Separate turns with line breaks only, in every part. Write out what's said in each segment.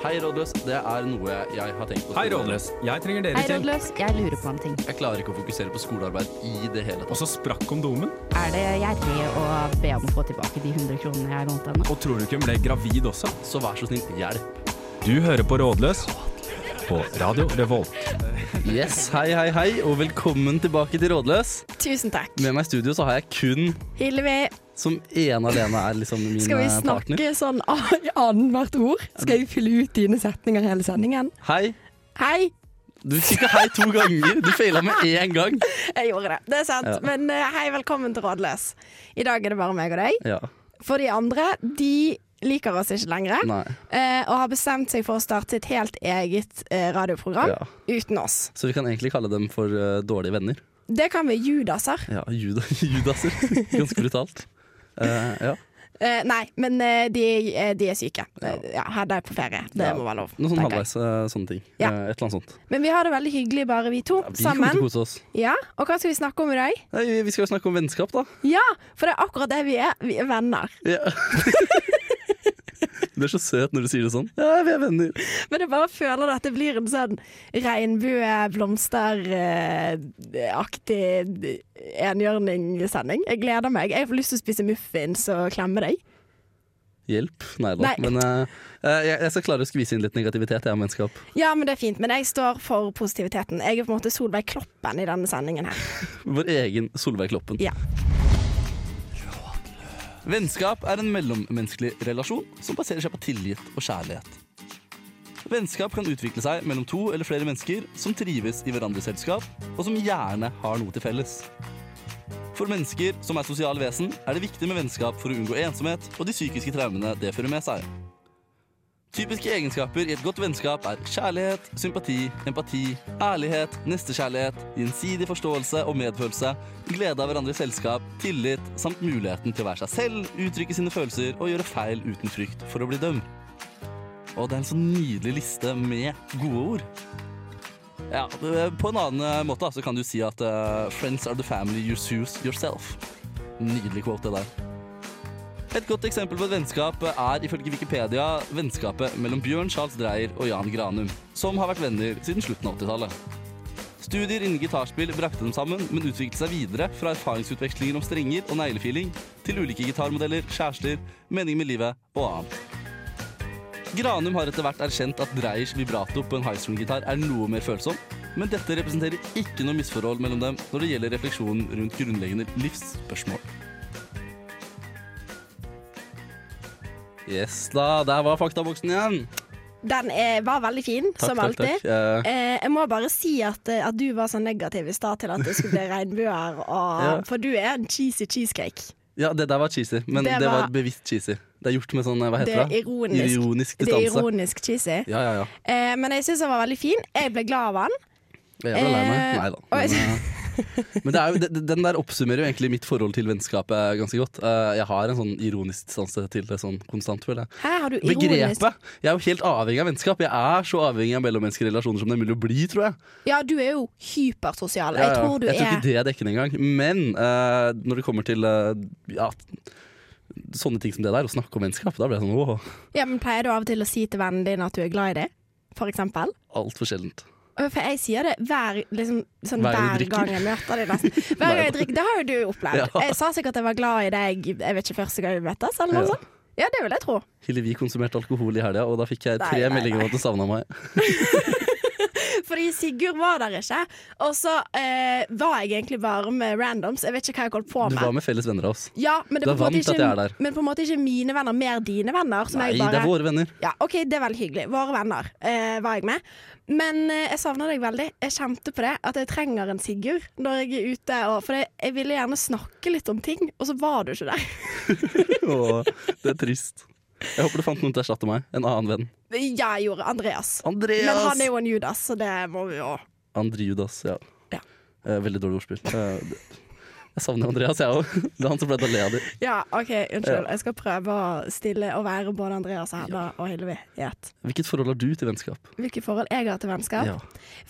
Hei, rådløs. Det er noe jeg har tenkt på.
Hei, Rådløs. Jeg trenger
Hei,
deres hjelp.
rådløs. Jeg lurer på en ting.
Jeg klarer ikke å fokusere på skolearbeid i det hele
Og
tatt.
så sprakk kondomen.
Er det gjerrig å be om å få tilbake de 100 kronene jeg lånte henne?
Og tror du ikke hun ble gravid også?
Så vær så snill, hjelp.
Du hører på Rådløs på Radio Revolt.
Yes, hei, hei, hei, og velkommen tilbake til Rådløs.
Tusen takk.
Med meg i studio så har jeg kun
Hillevi,
som ene alene er liksom min
skal vi
eh,
snakke
partner.
sånn a- i annethvert ord? Skal jeg fylle ut dine setninger hele sendingen?
Hei.
Hei!
Du fikk hei to ganger. Du feila med én gang.
Jeg gjorde det. Det er sant.
Ja.
Men eh, hei, velkommen til Rådløs. I dag er det bare meg og deg.
Ja.
For de andre, de liker oss ikke lenger.
Nei.
eh, Og har bestemt seg for å starte et helt eget eh, radioprogram
Ja.
uten oss.
Så vi kan egentlig kalle dem for eh, dårlige venner.
Det kan vi judaser.
Ja, juda, judaser. Ganske brutalt. Eh, ja.
Eh, nei, men eh, de, eh, de er syke.
Ja.
Ja. Ja, Hedda er på ferie. Det
Ja.
må være lov.
Noe sånn
tenker jeg.
halvveis eh, sånne ting.
Ja.
Eh, et eller annet sånt.
Men vi har det veldig hyggelig bare vi to
Ja, vi kommer til
sammen.
å kose oss.
Ja, Og hva skal vi snakke om i dag?
Nei, vi skal jo snakke om vennskap, da.
Ja, for det er akkurat det vi er. Vi er venner.
Ja. du er så søt når du sier det sånn. Ja, vi er venner.
Men jeg bare føler at det blir en sånn regnbue-blomsteraktig enhjørning-sending. Jeg gleder meg. Jeg får lyst til å spise muffins og klemme deg.
Hjelp. Nei da.
Nei.
Men eh, eh, jeg, jeg skal klare å skvise inn litt negativitet, jeg, om vennskap.
Ja, men det er fint. Men jeg står for positiviteten. Jeg er på en måte Solveig Kloppen i denne sendingen her.
Vår egen Solveig Kloppen.
Ja.
Vennskap er en mellommenneskelig relasjon som baserer seg på tillit og kjærlighet. Vennskap kan utvikle seg mellom to eller flere mennesker som trives i hverandres selskap, og som gjerne har noe til felles. For mennesker som er sosiale vesen, er det viktig med vennskap for å unngå ensomhet og de psykiske traumene det fører med seg. Typiske egenskaper i et godt vennskap er kjærlighet, sympati, empati, ærlighet, nestekjærlighet, gjensidig forståelse og medfølelse, glede av hverandres selskap, tillit samt muligheten til å være seg selv, uttrykke sine følelser og gjøre feil uten frykt for å bli dømt. Og det er en så nydelig liste med gode ord. Ja, På en annen eh, måte da, så kan du si at eh, 'friends are the family you choose yourself'. Nydelig quote, det der. Et godt eksempel på et vennskap er ifølge Wikipedia vennskapet mellom Bjørn Charles Dreyer og Jan Granum, som har vært venner siden slutten av 80-tallet. Studier innen gitarspill brakte dem sammen, men utviklet seg videre fra erfaringsutvekslinger om strenger og neglefiling til ulike gitarmodeller, kjærester, mening med livet og annet. Granum har etter hvert erkjent at Dreyers vibrato på en highstring-gitar er noe mer følsom, men dette representerer ikke noe misforhold mellom dem når det gjelder refleksjonen rundt grunnleggende livsspørsmål. Yes da, der var faktaboksen igjen.
Den eh, var veldig fin,
Takk,
som
takk,
alltid.
takk. Eh,
Eh, jeg må bare si at, eh, at du var så negativ i stad til at det skulle bli regnbuer. Og,
Ja.
For du er en cheesy cheesecake.
ja, det der var cheesy, men det,
Det
var,
var-
bevisst cheesy. Det er gjort med sånn, eh, hva
Det
heter
er
det?
ironisk. Det er
distanse.
ironisk cheesy.
Ja, ja, ja.
Eh, men jeg syns den var veldig fin. Jeg ble glad av den.
Jeg er vel lei meg.
Eh,
Nei da.
oi.
Men, eh, men det er jo, det- den der oppsummerer jo egentlig mitt forhold til vennskapet ganske godt. Eh, Jeg har en sånn ironisk distanse til det sånn konstant, føler jeg.
Her har du ironisk
Begrepet! Jeg er jo helt avhengig av vennskap. Jeg er så avhengig av mellommenneskelige relasjoner som det er mulig å bli, tror jeg.
Ja, du er jo hypersosial.
Ja,
Jeg
ja.
tror du
jeg tror
er
ikke det er dekkende engang. Men eh, når det kommer til eh, ja, sånne ting som det der, å snakke om vennskap, da blir jeg sånn åh,
Ja, men Pleier du av og til å si til vennen din at du er glad i det, for eksempel?
altfor sjeldent.
For jeg sier det hver, liksom, sånn,
Hver
hver,
gang du drikker.
gang jeg møter deg, nesten. Hver gang jeg drikker, Det har jo du opplevd.
Ja.
Jeg sa sikkert at jeg var glad i deg jeg vet ikke, første gang vi møttes, eller noe
Ja.
sånt. Ja, det vil jeg tro.
Hillevi konsumerte alkohol i helga, og da fikk jeg tre
Nei, nei,
meldinger om at hun savna meg.
Fordi Sigurd var der ikke, og så eh, var jeg egentlig bare med randoms. Jeg vet ikke hva jeg holdt på
Du
med.
var med felles venner av oss.
Ja, men det
Du
er
er
på en måte
vant at jeg er der.
ikke, men på en måte ikke mine venner, mer dine venner. Som
Nei,
jeg
det
bare,
er våre venner.
Ja, ok, det er veldig hyggelig. Våre venner eh, var jeg med. Men eh, jeg savna deg veldig. Jeg kjente på det at jeg trenger en Sigurd når jeg er ute. Og, for jeg, jeg ville gjerne snakke litt om ting, og så var du ikke der.
Åh, det er trist. Jeg håper du fant noen til å erstatte meg. En annen venn.
Ja, jeg gjorde Andreas. Men
Andreas!
han er jo en Judas, så det må vi jo
André Judas, ja.
Ja.
Eh, veldig dårlig ordspill. Eh, det- Jeg savner Andreas, jeg òg. Det er han som pleide å le av dem.
Ja, OK, unnskyld. Jeg skal prøve å stille og være både Andreas og Hedda og Hillevi i ett.
Hvilket forhold har du til vennskap?
Hvilke forhold jeg har til vennskap?
Ja.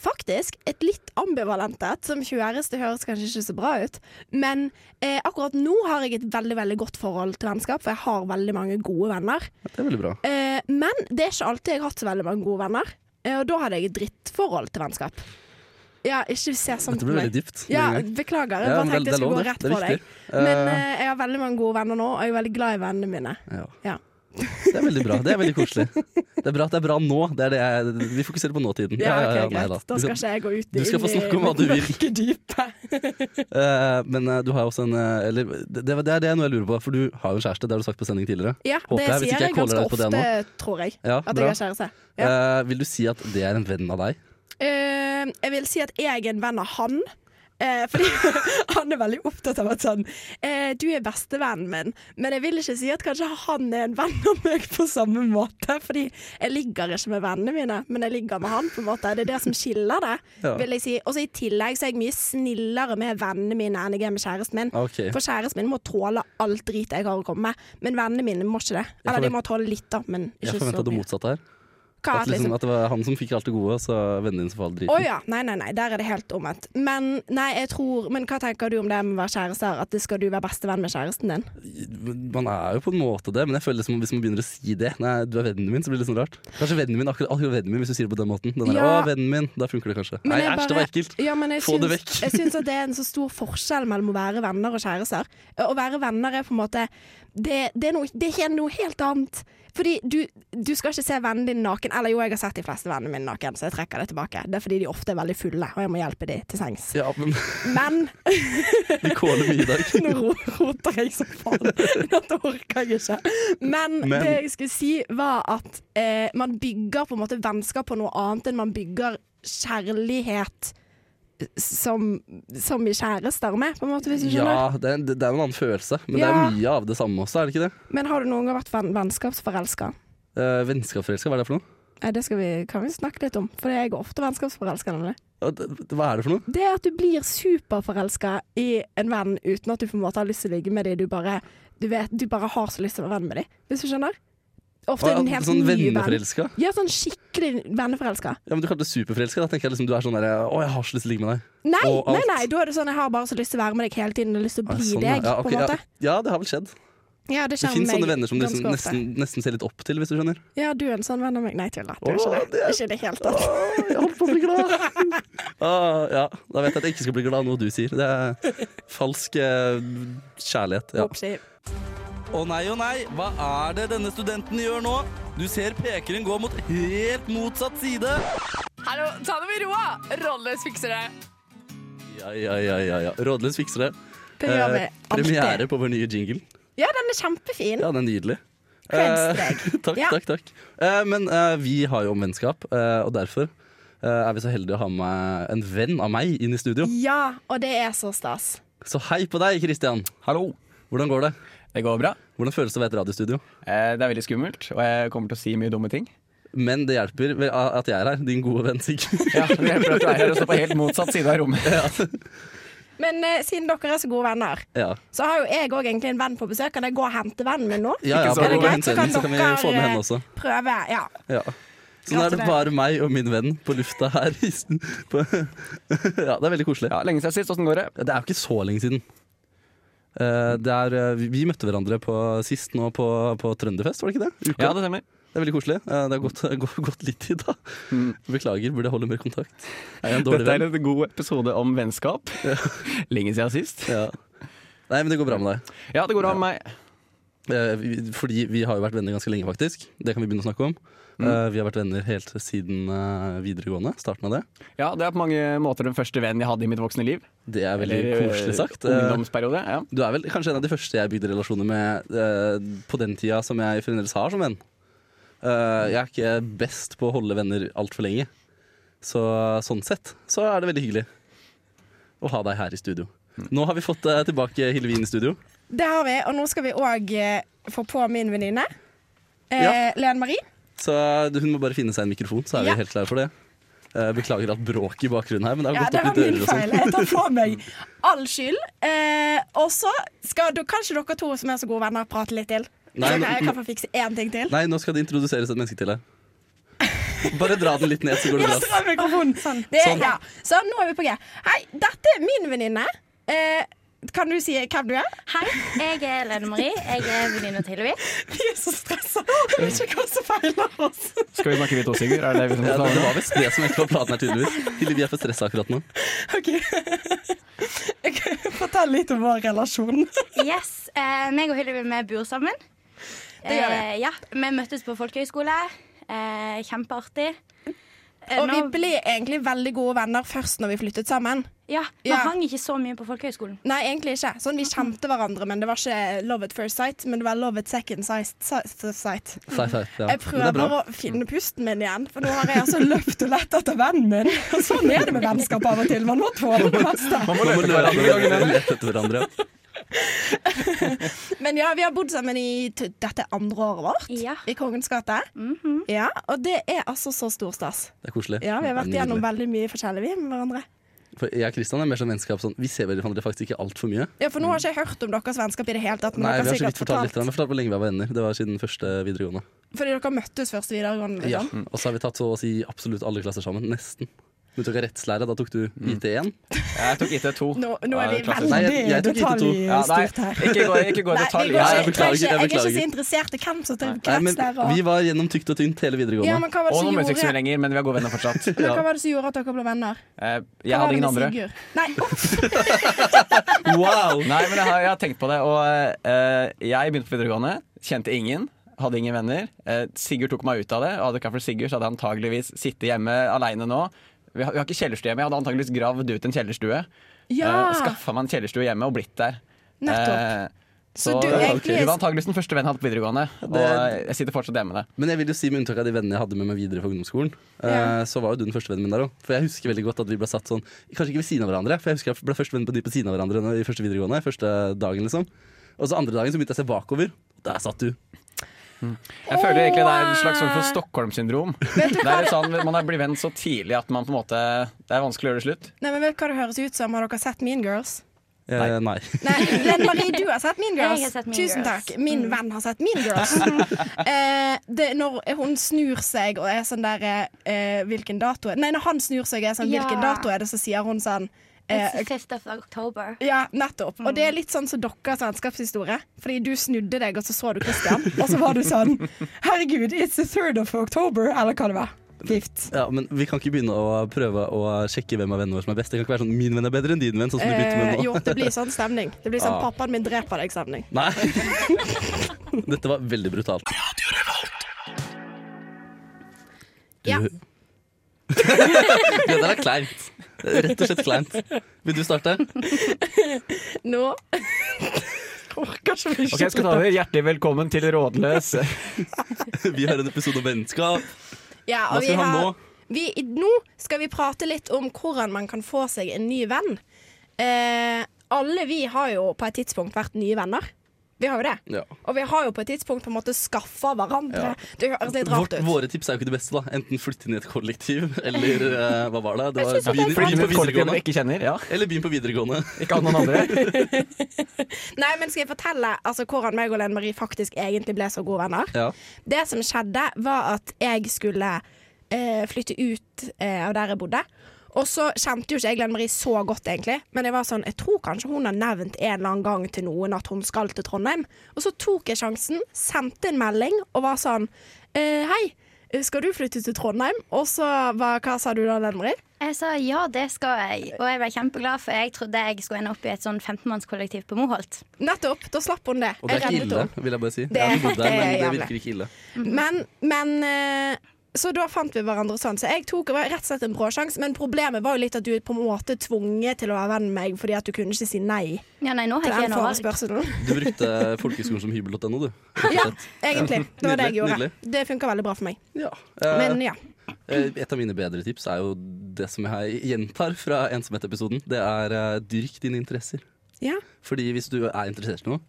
Faktisk et litt ambivalent et. Som 20-æreste høres kanskje ikke så bra ut, men eh, akkurat nå har jeg et veldig veldig godt forhold til vennskap, for jeg har veldig mange gode venner.
Det er veldig bra.
Eh, men det er ikke alltid jeg har hatt så veldig mange gode venner, eh, og da hadde jeg et drittforhold til vennskap. Ja, ikke se sånn
Dette
på
blir
meg.
veldig dypt.
Ja,
med en gang.
beklager. Jeg
Ja,
bare
men
tenkte jeg skulle gå
det.
rett
Det er
på deg.
viktig.
Men
Eh,
eh, jeg har veldig mange gode venner nå, og jeg er veldig glad i vennene mine.
ja.
Ja.
Det er veldig bra. Det er veldig koselig. Det er bra at det er bra nå. Det er det jeg, vi fokuserer på nåtiden.
Ja, ok,
nei
greit.
da.
Da
Du
skal
skal-
ikke jeg gå ut
du skal få
inn i
snakke om hva du vil.
mørke dypet.
Eh, men eh, du har jo også en eh, Eller det, det det er det jeg nå jeg lurer på, for du har jo en kjæreste. Det har du sagt på sending tidligere.
Ja,
Håper
det
jeg, hvis ikke
sier
jeg
jeg
caller
ganske
deg på det
ofte, tror jeg.
Ja,
At
bra.
jeg har kjæreste. Ja.
Eh, vil du si at det er en venn av deg?
Eh, jeg vil si at jeg er en venn av han. Eh, fordi han er veldig opptatt av at sånn eh, Du er bestevennen min, men jeg vil ikke si at kanskje han er en venn av meg på samme måte. Fordi jeg ligger ikke med vennene mine, men jeg ligger med han, på en måte. Det er det som skiller det,
Ja.
vil jeg si. Og så i tillegg så er jeg mye snillere med vennene mine enn jeg er med kjæresten min.
Ok.
For kjæresten min må tåle alt drit jeg har å komme med, men vennene mine må ikke det.
Jeg
Eller
forvent-
de må tåle litt, da, men
Jeg
ikke så
forventa det
mye.
motsatte her.
Hva,
At, liksom, at det var han som fikk alt det gode, og så vennene dine som får all
Å
driten.
ja. Nei, nei, nei. Der er det helt omvendt. Men, nei, jeg tror, men hva tenker du om det med å være kjærester? At det skal du være bestevenn med kjæresten din?
Man er jo på en måte det, men jeg føler liksom, hvis man begynner å si det Nei, du er vennen min, så blir det litt sånn rart. Kanskje vennen min, akkurat, akkurat vennen min, hvis du sier det på den måten. Den der,
Ja.
Å, vennen min, Da funker det kanskje.
Men
Nei,
jeg
æsj, det
bare-
var ekkelt.
Ja, men jeg
Få det
syns-
vekk.
jeg syns at det er en så stor forskjell mellom å være venner og kjærester. Å være venner er på en måte Det, det, er, noe, det er noe helt annet. Fordi du, du skal ikke se vennen din naken. Eller jo, jeg har sett de fleste vennene mine naken, så jeg trekker det tilbake. Det er fordi de ofte er veldig fulle, og jeg må hjelpe de til sengs.
Ja, men
Men
vi kåler mye i dag.
Nå ro- roter jeg som faen. Dette orker jeg ikke. Men,
Men-
det jeg skulle si, var at eh, man bygger på en måte vennskap på noe annet enn man bygger kjærlighet som, som i kjærester med, på en måte, hvis du skjønner.
Ja, det er, det er en annen følelse, men det
Ja.
er mye av det samme også, er det ikke det?
Men har du noen gang vært venn vennskapsforelska?
Uh, Vennskapsforelska, hva er det for noe?
Nei, Eh, det skal vi, kan vi snakke litt om, for jeg er ofte vennskapsforelska. nemlig.
Ja, det- det- Hva er det for noe?
Det er at du blir superforelska i en venn uten at du på en måte har lyst til å ligge med dem. Du bare, du vet, du bare har så lyst til å være venn med dem, hvis du skjønner? Ofte
Hva,
en helt
sånn
ny venn.
venneforelska?
Ja, sånn skikkelig venneforelska.
Ja, men du kalte det superforelska. Da tenker jeg liksom du er sånn derre Å, jeg har så lyst til å ligge med deg.
Nei,
Og alt.
nei, nei, da er det sånn jeg har bare så lyst til å være med deg hele tiden. Jeg har lyst til å
Ja,
bli
sånn, ja.
deg,
ja, ok,
på en måte.
Ja, ja, det har vel skjedd.
Ja, det
Det
skjer
finnes
med
sånne
meg
venner som du liksom
ganske ofte.
nesten, nesten ser litt opp til, hvis du skjønner.
Ja, du er en sånn venn av meg. Nei, tuller. Du er
Åh,
ikke det.
det er-
Ikke i det hele tatt.
Åh, jeg holdt på å bli glad. Åh, Ah, ja, da vet jeg at jeg ikke skal bli glad av noe du sier. Det er falsk eh, kjærlighet. Ja.
Oppsi.
Å nei, å nei, hva er det denne studenten gjør nå? Du ser pekeren gå mot helt motsatt side.
Hallo, ta det med ro, da! Rolleløs fikser det.
Ja, ja, ja, ja. ja. Rådløs fikser det.
Det gjør vi
Eh,
alltid.
premiere på vår nye jingle.
Ja, den er kjempefin.
Ja, den er nydelig.
Creds
Eh, takk,
Ja.
takk, takk. Eh, men eh, vi har jo om vennskap, eh, og derfor eh, er vi så heldige å ha med en venn av meg inn i studio.
Ja, og det er så stas.
Så hei på deg, Kristian.
Hallo.
Hvordan går det?
Det går bra.
Hvordan føles det å være i et radiostudio?
Eh, Det er veldig skummelt, og jeg kommer til å si mye dumme ting.
Men det hjelper vel at jeg er her, din gode venn Sigurd.
Ja, det hjelper at du er her og står på helt motsatt side av rommet.
Men eh, siden dere er så gode venner,
ja.
så har jo jeg òg egentlig en venn på besøk. Kan jeg gå og hente vennen min nå?
Ja, ja,
Ikke så
bare
god.
gå og hente henne, så kan vi få med
eh,
henne også.
prøve? Ja.
Ja. Så nå er det bare
Gratulerer.
meg og min venn på lufta her. i s- På ja, det er veldig koselig.
Ja, Lenge siden sist, åssen går det?
Ja, Det er jo ikke så lenge siden. Eh, det er, eh, vi- vi møtte hverandre på, sist nå på, på Trønderfest, var det ikke det? Uka.
Ja, det stemmer.
Det er veldig koselig. Eh, det har gått, gå- gått litt tid, da. Beklager, burde jeg holde mer kontakt? Er jeg en dårlig
Mm. Dette er
venn?
en god episode om vennskap. Lenge siden sist.
Ja. Nei, men det går bra med deg.
Ja, det går bra med meg.
Eh, vi- fordi vi har jo vært venner ganske lenge, faktisk. Det kan vi begynne å snakke om.
Mm.
Eh, vi har vært venner helt siden eh, videregående. Starten av det.
Ja, Det er på mange måter den første vennen jeg hadde i mitt voksne liv.
Det er veldig
Eller, eh,
koselig sagt. Eh,
Ungdomsperiode. ja.
Du er vel kanskje en av de første jeg bygde relasjoner med eh, på den tida som jeg fremdeles har som venn. Eh, jeg er ikke best på å holde venner altfor lenge. Så sånn sett så er det veldig hyggelig å ha deg her i studio.
Mm.
Nå har vi fått eh, tilbake Hillevi inn i studio.
Det har vi, og nå skal vi òg få på min venninne. Eh,
Ja.
Lene Marie.
Så eh, hun må bare finne seg en mikrofon, så er
Ja.
vi helt klare for det. Eh, Beklager alt bråket i bakgrunnen her, men det har
Ja,
gått
det
opp
var
litt
min
ører og
feil.
sånn.
Jeg tar fra meg all skyld. Eh, og så skal du, kanskje dere to som er så gode venner, prate litt til.
Nei,
så kan jeg
men-
kan få fikse én ting til.
Nei, nå skal det introduseres et menneske til deg. Bare dra den litt ned, så går det
Ja,
bra.
stram mikrofonen. Det,
Sånn.
Ja. Så nå er vi på G. Hei, dette er min venninne. Eh, kan du si hvem du er?
Hei, jeg er Lene Marie. Jeg er venninna til Hilvi.
Vi er så stressa. Jeg vet ikke hva som feiler oss.
Skal vi snakke vi to, Sigurd? Er det det vi
Ja,
skal
det
snakke
var visst det som egentlig var planen her, tydeligvis. Hilde, vi er for stressa akkurat nå.
Ok. Fortell litt om vår relasjon.
Yes, eh, meg og Hilvi vi bor sammen. Det
gjør vi.
Eh, ja, vi møttes på folkehøyskole. Eh, kjempeartig. Eh,
Og vi
nå-
ble egentlig veldig gode venner først når vi flyttet sammen.
Ja, vi
Ja.
hang ikke så mye på folkehøyskolen.
Nei, egentlig ikke. Sånn, Vi kjente hverandre, men det var ikke love at first sight. Men det var love at second sight. si- si- sight.
Sei, sei, ja.
Jeg
Men det
prøver
er bra.
bare å finne pusten min igjen, for nå har jeg altså løpt og lett etter vennen min. Og sånn er det med vennskap av og til. Man må tåle det meste.
Man må lete hverandre, lete etter hverandre. ja.
Men ja, vi har bodd sammen i t dette er andre året vårt
Ja.
i Kongens gate. Ja, Og det er altså så stor stas.
Det er koselig.
Ja, vi har vært
Det er
igjennom
nydelig.
veldig mye forskjellig vi med hverandre.
For jeg og Kristian er mer sånn vennskap sånn Vi ser hverandre faktisk ikke altfor mye.
Ja, For nå har ikke jeg hørt om deres vennskap i det hele tatt.
Mm.
Men
Nei, vi
dere
har
har
så
sikkert
vidt fortalt
fortalt,
litt. Vi har fortalt hvor lenge vi har vært venner. Det var siden første videregående.
Fordi dere møttes først i videregående.
Ja.
Liksom.
Mm. Og så har vi tatt så å si absolutt alle klasser sammen. Nesten. Du tok rettslære, da tok du E IT1.
Jeg tok IT2.
Nå, nå er
Ja,
vi
det er klassisk.
Nei, jeg- jeg
veldig
tok ikke to.
Ja, nei,
detaljstyrt her.
ikke gå, ikke gå i
Nei, vi
detalj.
går
jeg
ikke-
beklager,
trenger
jeg
ikke- Jeg er ikke
beklager.
så interessert i hvem som tar
Nei, men
kretslærer.
vi var gjennom tykt og tynt hele
Ja,
videregående.
men hva var det
Og
som
noen
gjorde
musikksmuleringer, men vi er gode venner fortsatt.
men hva var det som gjorde at dere ble venner?
Eh,
Hva
Jeg
var
hadde
det
ingen
med
andre. Eh,
Sigurd? Nei, uff,
Wow!
Nei, men jeg har, jeg har tenkt på det. Og eh, jeg begynte på videregående, kjente ingen. Hadde ingen venner. Eh, Sigurd tok meg ut av det. Og hadde det ikke vært for Sigurd, så hadde jeg antageligvis sittet hjemme aleine nå. Vi har, vi har ikke kjellerstue hjemme. Jeg hadde antageligvis gravd ut en kjellerstue.
Ja.
Skaffa meg en kjellerstue hjemme og blitt der.
Nettopp.
Eh,
Så
så
du
du,
egentlig-
var antageligvis den første vennen jeg hadde på videregående. Og
Det-
jeg sitter fortsatt hjemme med det.
Men jeg vil jo si med unntak av de vennene jeg hadde med meg videre fra ungdomsskolen,
Ja.
eh, så var jo du den første vennen min der òg. For jeg husker veldig godt at vi ble satt sånn, kanskje ikke ved siden av hverandre, for jeg husker jeg ble først venn på de på siden av hverandre når- i første videregående, første dagen, liksom. Og så andre dagen så begynte jeg å se bakover. Der satt du.
Jeg føler egentlig det er en slags form for Stockholm-syndrom. Det er litt sånn, Man blir venn så tidlig at man på en måte Det er vanskelig å gjøre det slutt.
Nei, men vet du hva det høres ut som? Har dere sett Mean Girls?
Eh, nei.
Nei, Lene Marie, du har sett Mean Girls.
Jeg har sett Mean
Tusen
Girls. Mm.
takk. Min venn har sett Mean Girls. eh, det, når hun snur seg og er sånn der eh, Hvilken dato er det? Nei, når han snur seg og er sånn
Ja.
Hvilken dato er det? Så sier hun sånn
It's
eh,
the 5th of October.
Ja, nettopp. Og
Mm.
det er litt sånn som deres vennskapshistorie. Fordi du snudde deg, og så så du Christian, og så var du sånn Herregud, it's the third of October, eller hva det var. Fifth.
Ja, men vi kan ikke begynne å prøve å sjekke hvem av vennene våre som er best. Det kan ikke være sånn min venn er bedre enn din venn, sånn som du begynte
Eh,
med
jo,
nå. Ah.
det blir sånn stemning. Det blir sånn pappaen min dreper deg-stemning.
Nei. Dette var veldig brutalt. Du-
Ja.
Det der er kleint. Rett og slett kleint. Vil du starte?
Nå Orker ikke mye.
Ok, jeg skal ta over. Hjertelig velkommen til Rådløs.
Vi har en episode om vennskap.
Ja,
Hva
og vi
skal vi ha nå?
har, vi, i- nå skal vi prate litt om hvordan man kan få seg en ny venn. Eh, alle vi har jo på et tidspunkt vært nye venner. Vi har jo det.
Ja.
Og vi har jo på et tidspunkt på en måte skaffa hverandre.
Ja.
Det høres litt
Vårt,
rart ut.
våre tips er jo ikke det beste. da Enten flytte inn i et kollektiv, eller eh, hva var det? det
Jeg synes at
var,
det er
begynn-
bra.
begynn
Ingen
på videregående.
ikke kjenner. Ja.
Eller begynn på videregående.
Ikke han noen andre.
Nei, men Skal jeg fortelle altså, hvordan meg og Lene Marie faktisk egentlig ble så gode venner?
Ja.
Det som skjedde, var at jeg skulle eh, flytte ut eh, av der jeg bodde. Og så kjente jo ikke jeg Glenn Marie så godt, egentlig. Men jeg var sånn, jeg tror kanskje hun har nevnt en eller annen gang til noen at hun skal til Trondheim. Og så tok jeg sjansen, sendte en melding og var sånn eh, Hei, skal du flytte til Trondheim? Og så var Hva sa du da, Glenn Marie?
Jeg sa ja, det skal jeg. Og jeg ble kjempeglad, for jeg trodde jeg skulle ende opp i et sånn 15-mannskollektiv på Moholt.
Nettopp. Da slapp hun det.
Og det er
Jeg
ikke
reddet
ille,
henne.
vil jeg bare si.
er-
jeg har bodd der,
det er
men det
jævlig.
virker ikke ille.
Men, men eh, Så da fant vi hverandre sånn. Så jeg tok rett og slett en bråsjanse. Men problemet var jo litt at du er på en måte tvunget til å være venn med meg fordi at du kunne ikke si nei
Ja, nei, nå har
til
jeg
den
ikke noe valg.
forespørselen.
Du brukte folkehøyskolen som hybel.no, du.
Ja, egentlig. Det var det jeg
Nydelig,
gjorde.
nydelig.
Det funka veldig bra for meg.
Ja. Eh,
Men ja.
eh, Et av mine bedre tips er jo det som jeg gjentar fra ensomhet-episoden. Det er eh, dyrk dine interesser.
ja.
Fordi hvis du er interessert i noe,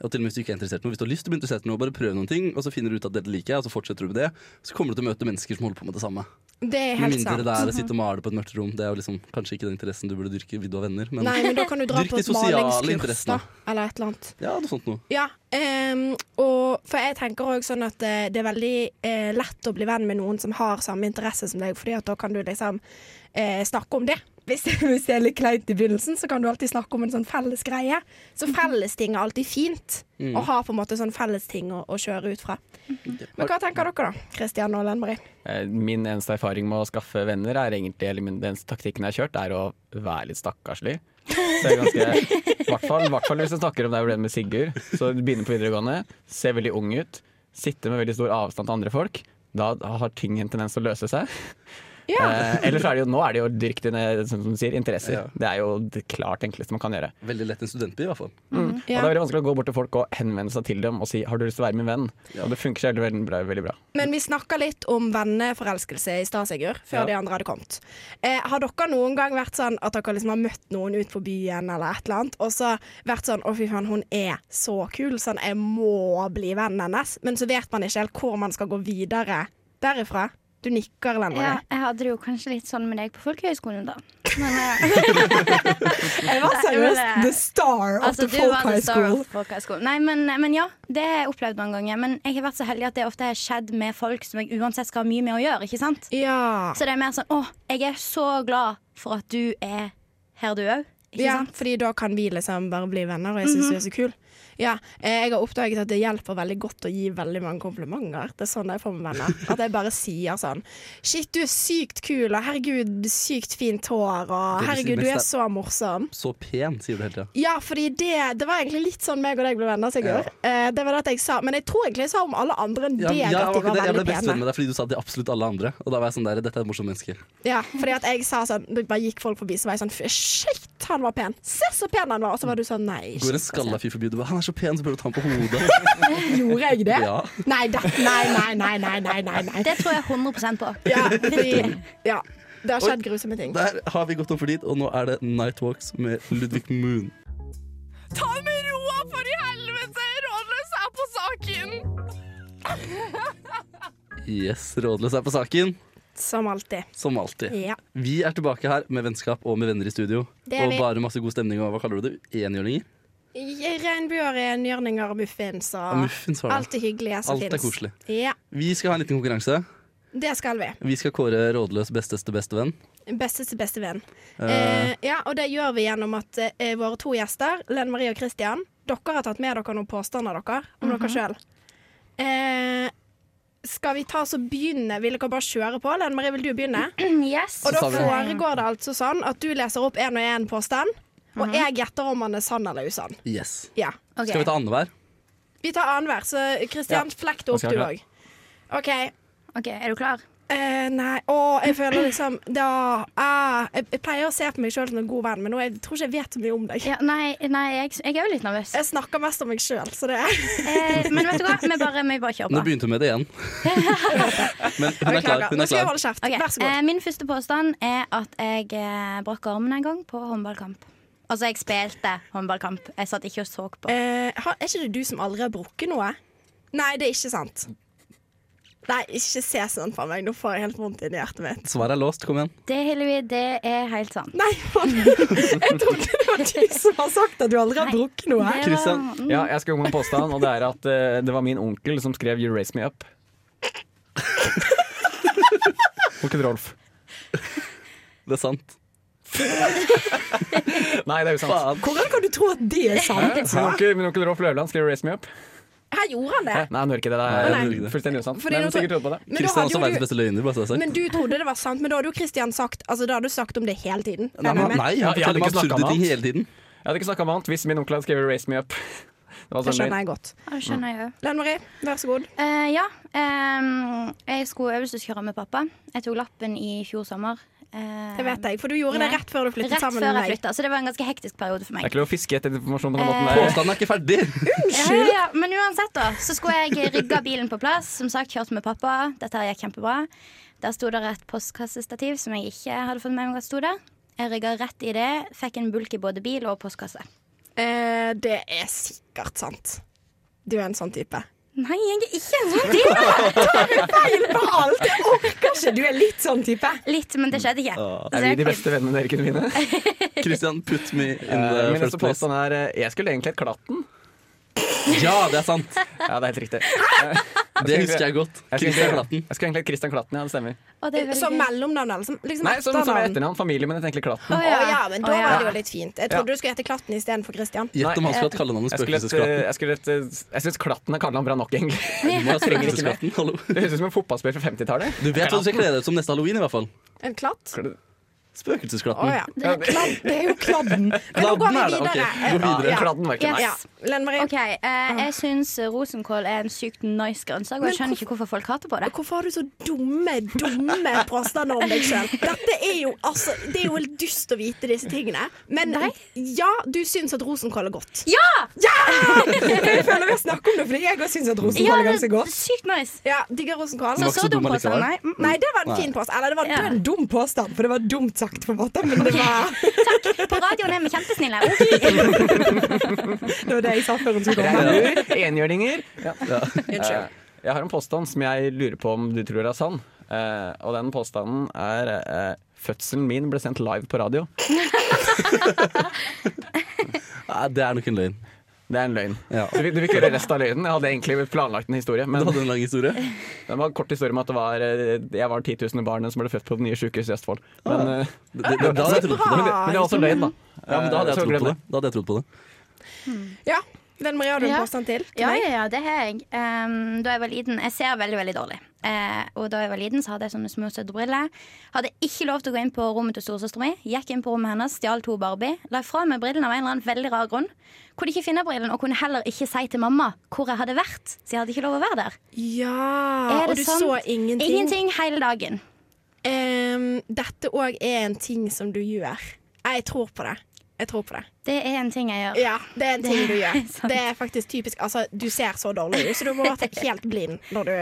og til og med hvis du ikke er interessert i noe, hvis du har lyst til å bli interessert i noe, bare prøv noen ting, og så finner du ut at dette liker jeg, og så fortsetter du med det, så kommer du til å møte mennesker som holder på med det samme.
Det er
Med mindre
helt sant. Mhm.
det er å sitte og male på et mørkt rom. Det er jo liksom kanskje ikke den interessen du burde dyrke. Vil du ha venner? Men
Nei, men da kan du dra
Dyrk
på
de
et
sosiale
malingskurs,
interessene.
da. Eller et eller annet.
ja, noe sånt noe.
Ja, ehm, og for jeg tenker òg sånn at eh, det er veldig eh, lett å bli venn med noen som har samme interesse som deg, Fordi at da kan du liksom eh, snakke om det. Hvis, hvis det er litt kleint i begynnelsen, så kan du alltid snakke om en sånn felles greie. Så fellesting er alltid fint å ha på en måte sånn fellesting å, å kjøre ut fra. Men hva tenker dere da, Kristian og Ellen Marie?
Eh, Min eneste erfaring med å skaffe venner er egentlig, eller min, den eneste taktikken jeg har kjørt, er å være litt stakkarslig. Så jeg er ganske, i hvert, fall, i hvert fall hvis jeg snakker om det jeg ble med Sigurd. Så begynne på videregående, se veldig ung ut, sitte med veldig stor avstand til andre folk. Da har ting en tendens til å løse seg. Eh, ellers er det jo, nå er det jo dyrk dine som du sier, interesser.
Ja.
Det er jo det klart enkleste man kan gjøre.
Veldig lett en studentby, i hvert fall.
Og det er veldig vanskelig å gå bort til folk og henvende seg til dem og si 'har du lyst til å være min venn'? Og det funker så veldig, veldig bra. Veldig bra.
Men vi snakka litt om venneforelskelse i stad, Sigurd, før
Ja.
de andre hadde kommet. Eh, har dere noen gang vært sånn at dere liksom har møtt noen ut på byen eller et eller annet, og så vært sånn 'Å, fy faen, hun er så kul, sånn jeg må bli vennen hennes', men så vet man ikke helt hvor man skal gå videre derifra? Du nikker, Ellen Marie.
Ja, jeg hadde det jo kanskje litt sånn med deg på folkehøyskolen, da. Men, eh,
Jeg var seriøst
men det-
the star of
altså,
the
du var
folk
the
high
star
school.
of folkehøyskolen. Nei, men, men ja, det har jeg opplevd noen ganger. Men jeg har vært så heldig at det ofte har skjedd med folk som jeg uansett skal ha mye med å gjøre. ikke sant?
Ja.
Så det er mer sånn Å, jeg er så glad for at du er her, du òg. Ikke
ja,
sant?
fordi da kan vi liksom bare bli venner, og jeg
Mhm.
syns du er så kul. Ja, eh, jeg har oppdaget at det hjelper veldig godt å gi veldig mange komplimenter. Det er sånn jeg får med venner. At jeg bare sier sånn Shit, du er sykt kul, og herregud, sykt fint
Det
hår, og
du sier
herregud, du
mest
er
er-
så morsom.
Så pen, sier du hele tida.
Ja, fordi det, det var egentlig litt sånn meg og deg ble venner, Sigurd. Eh, det var det at jeg sa. Men jeg tror egentlig jeg sa om alle andre enn deg
jeg,
at de
jeg
var
ble
veldig
best venn
pene.
med deg fordi du sa det til absolutt alle andre. Og da var jeg sånn der, dette er et morsomt menneske.
Ja, fordi at jeg sa sånn Det bare gikk folk forbi, så var jeg sånn "Fy, Shit, han var pen! Se så pen han var! Og så var du sånn Nei.
Går
shit,
en
så
skalla
pen."
fyr forbi og du bare 'han er så pen', så prøver du å ta ham på hodet.
Gjorde jeg det?
Ja.
Nei, da, nei, nei, nei, nei, nei, nei, nei.
Det tror jeg 100 på.
Ja, fordi, ja, det har skjedd grusomme ting.
Der har vi gått opp for dit, og nå er det Nightwalks med Ludvig Moon.
Ta det med ro, for i helvete! Rådløs er på saken!
Yes, Rådløs er på saken,
Som alltid.
som alltid.
Ja.
Vi er tilbake her med vennskap og med venner i studio.
Det er
Og
vi.
bare masse god stemning og hva kaller du det? Enhjørninger?
Regnbuer, enhjørninger og muffins
Ja,
og
Muffins var det.
alt det hyggelige som
Alt er
finnes.
koselig.
Ja,
Vi skal ha en liten konkurranse.
det skal vi.
Vi skal kåre Rådløs besteste bestevenn.
Besteste bestevenn.
Eh.
Eh, ja, og det gjør vi gjennom at eh, våre to gjester, Lene Marie og Christian, dere har tatt med dere noen påstander dere om dere sjøl. Eh, skal vi ta oss og begynne? Vil dere bare kjøre på? Lene Marie, vil du begynne?
Mm, Yes.
Og da
Så sa vi-
foregår det altså sånn at du leser opp én og én påstand, og jeg gjetter om han er sann eller usann.
Yes.
Ja.
Ok.
Skal vi ta annenhver?
Vi tar annenhver, så Kristian, flekk det opp
skal
du
jeg
òg. OK.
Ok, Er du klar?
Eh, nei, å, jeg føler liksom da, ah, jeg, jeg pleier å se på meg sjøl som en god venn, men nå jeg tror ikke jeg vet så mye om deg.
Ja, nei, nei jeg, jeg er jo litt nervøs.
Jeg snakker mest om meg sjøl, så det er
Eh, men vet du hva, vi bare, vi bare kjører
Nå
på.
begynte hun med det igjen. Men hun er klar.
Beklager.
Hun
Nå
er
skal jeg
klar.
holde kjeft.
Ok,
Vær så
eh,
god.
Min første påstand er at jeg eh, brakk armen en gang på håndballkamp. Altså, jeg spilte håndballkamp. Jeg satt ikke og så på.
Eh, har- er ikke det du som aldri har brukket noe? Nei, det er ikke sant. Nei, ikke se sånn på meg. Nå får jeg helt vondt inni hjertet mitt.
Svaret er låst. Kom igjen.
Det, Hillevi, det er helt sant.
Nei, faen. Jeg trodde det var du som har sagt at du aldri har
Nei.
drukket noe.
Det
Christian.
var-
Ja, jeg skal komme med en påstand, og det er at eh, det var min onkel som skrev 'You Raise Me Up'. Onkel Rolf.
Det er sant.
Nei, det er jo sant.
Hvordan kan du tro at det er sant?
Min onkel, min onkel Rolf Løvland skrev 'Raise Me Up'.
Her gjorde han det.
Nei, han hører ikke det.
Nei, han
Det
gjør ikke
er
det.
fullstendig usant.
Fordi
Men
nå-
sikkert trodde på det.
Men da
Kristian er
hadde
også verdens
jo du
beste løgner. Bare så det er sagt.
men du trodde det var sant, men da hadde jo Kristian sagt Altså da hadde du sagt om det hele tiden.
Nei, men,
Regner jeg med.
nei,
Ja,
han
jeg hadde
forteller meg
ikke snakket
absurde
om
ting
alt.
hele tiden.
Jeg hadde ikke snakka om annet hvis min onkel hadde skrevet 'Raise Me Up'.
altså,
Det
Det var sånn
skjønner
min.
jeg godt.
Det skjønner jeg jo.
Lenn Marie, vær så god.
Eh, ja, ehm, jeg skulle øvelseskjøre med pappa. Jeg tok lappen i fjor sommer. Eh,
Det vet jeg, for du gjorde det
ja.
rett før du flyttet
Rett
sammen
før
med
jeg
meg.
flytta, så det var en ganske hektisk periode for
Det er
meg.
ikke lov å fiske etter informasjon på den måten der.
Påstanden er ikke ferdig.
Ja, ja, ja. Men uansett, da, så skulle jeg rigge bilen på plass. Som sagt, kjørte med pappa. Dette her gikk kjempebra. Der sto det et postkassestativ som jeg ikke hadde fått med meg at sto der. Jeg rigga rett i det, fikk en bulk i både bil og postkasse.
Eh, det er sikkert sant. Du er en sånn type.
Nei, jeg er ikke en sånn type.
Feil på alt! Jeg orker ikke! Du er litt sånn type.
Litt, men det skjedde ikke. Så
Er vi
jeg
de
kom-
beste vennene dere kunne vinne?
Eh, Christian, put me in
Eh,
the
Min
first
neste
place.
påstand er eh, Jeg skulle egentlig hett Klatten.
Ja, det er sant.
Ja, det er helt riktig.
Det husker jeg godt.
Jeg skulle
Christian
egentlig-
Klatten.
Jeg skulle egentlig hett Christian Klatten, ja, det stemmer.
Å, det er veldig
Som
gøy.
mellomnavn eller som liksom
Nei, som, som er
etternavn?
etternavn. Familien min heter egentlig Klatten.
Å,
Å
ja.
ja, men da
Å, ja.
var det jo litt fint. Jeg trodde
Ja.
du skulle hete Klatten istedenfor Christian.
Gjett om han
Nei,
skulle hatt kallenavnet
Jeg skulle hett,
Spøkelsesklatten.
eh, jeg, skulle hett, eh, jeg syns Klatten er kallenavn bra nok, egentlig.
Du må ha
trenger ikke
Spøkelsesklatten, hallo.
Det høres ut som en fotballspiller fra 50-tallet.
Du vet hva du skal kle deg ut som neste halloween, i hvert fall.
En klatt? Å
Spøkelsesklatten.
ja. Det er, kladd, det er jo kladden. Men nå går
Kladden
vi
er det, ok.
videre.
Gå videre.
Ja.
Kladden var ikke
Yes.
Ja. Lenn Marie,
OK, eh, jeg syns rosenkål er en sykt nice grønnsak, og jeg skjønner ikke hvorfor folk hater på det.
hvorfor har du så dumme, dumme påstander om deg sjøl? Dette er jo altså Det er jo helt dust å vite disse tingene. Men ja, du syns at rosenkål er godt.
Ja!
Jeg føler vi har snakket om det, fordi jeg òg syns at
ja!
rosenkål er
Det
ganske
er
godt.
sykt nice.
Ja, digger rosenkål.
Så
ikke
så
så
dum
dum
påstand,
allikevel.
nei. Mm,
Nei, det var en
Nei.
fin påstand. Eller det var
Ja.
en dum påstand, for det var dumt sagt, på en måte. Men det var
På radioen er vi kjempesnille. Ok.
det, var det jeg sa før hun skulle komme.
greit. Enhjørninger. Ja. Eh, Jeg har en påstand som jeg lurer på om du tror er sann. Eh, og den påstanden er eh, Fødselen min ble sendt live på radio.
Nei, det er nok en løgn.
Det er en løgn.
Ja.
Du, fikk- du fikk høre resten av løgnen. Jeg hadde egentlig planlagt en historie, men
Du hadde en lang historie.
det var en kort historie om at det var, eh, jeg var 10 000 barnet som ble født på det nye sykehuset i Østfold. Men,
Ah.
eh,
Det, det, det, da hadde jeg trodd på det.
men, det, men det var også løgn, da.
Ja, men da hadde jeg
Eh, så
trodd
glem
på det. Da hadde jeg trodd på det.
Ja. Lenn Marie, har du en
Ja.
påstand til? til
Ja,
meg?
ja, ja, det har jeg. Ehm, da jeg var liten Jeg ser veldig, veldig dårlig. Eh, og da jeg var liten, så hadde jeg sånne små søsterbriller. Hadde ikke lov til å gå inn på rommet til storesøstera mi. Gikk inn på rommet hennes, stjal to Barbie. La fra meg brillene av en eller annen veldig rar grunn. Kunne ikke finne brillene, og kunne heller ikke si til mamma hvor jeg hadde vært. Så jeg hadde ikke lov å være der.
Ja,
Er
Ah, og
det
du
sant?
så ingenting.
Ingenting hele dagen.
Ehm, dette òg er en ting som du gjør. Jeg tror på det. Jeg tror på det.
Det er en ting jeg gjør.
Ja, det er en ting du gjør.
sant.
Det er faktisk typisk Altså, du ser så dårlig ut, så du må være helt blind når du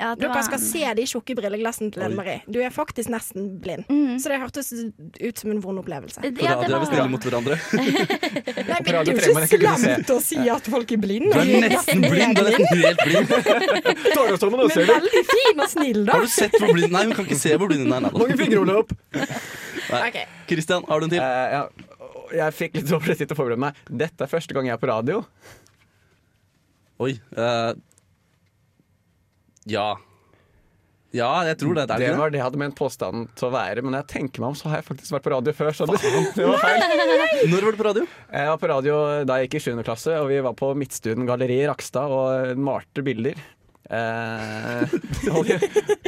Ja, det
Dere
var-
skal se de tjukke brilleglassene til Lenn Marie. Du er faktisk nesten blind. Så det hørtes ut som en vond opplevelse.
Ja, det
På radio er vi
var-
snille mot hverandre.
Nei, men
Radio
det er jo
Tre må
ikke
jeg kunne se.
slemt å si at folk er blinde.
Du er nesten blind. Du er nesten helt blind.
Torgallsholmen, da,
Men
ser du?
veldig fin og snill, da.
Har du sett hvor blind Nei, hun kan ikke se hvor blind hun er.
Mange
Nei,
fingerhuller opp.
Nei.
Ok.
Christian, har du en til?
Eh, ja. Jeg fikk litt dårlig tid til å forberede meg. Dette er første gang jeg er på radio.
Oi. eh, ja. Ja, jeg tror det. Det er
Det
ikke det.
var det jeg hadde ment påstanden til å være, men når jeg tenker meg om, så har jeg faktisk vært på radio før. Så det, det var feil.
Når var du på radio?
Jeg var på radio da jeg gikk i 7. klasse, og vi var på Midtstuen galleri i Rakstad og malte bilder. Eh, og, de,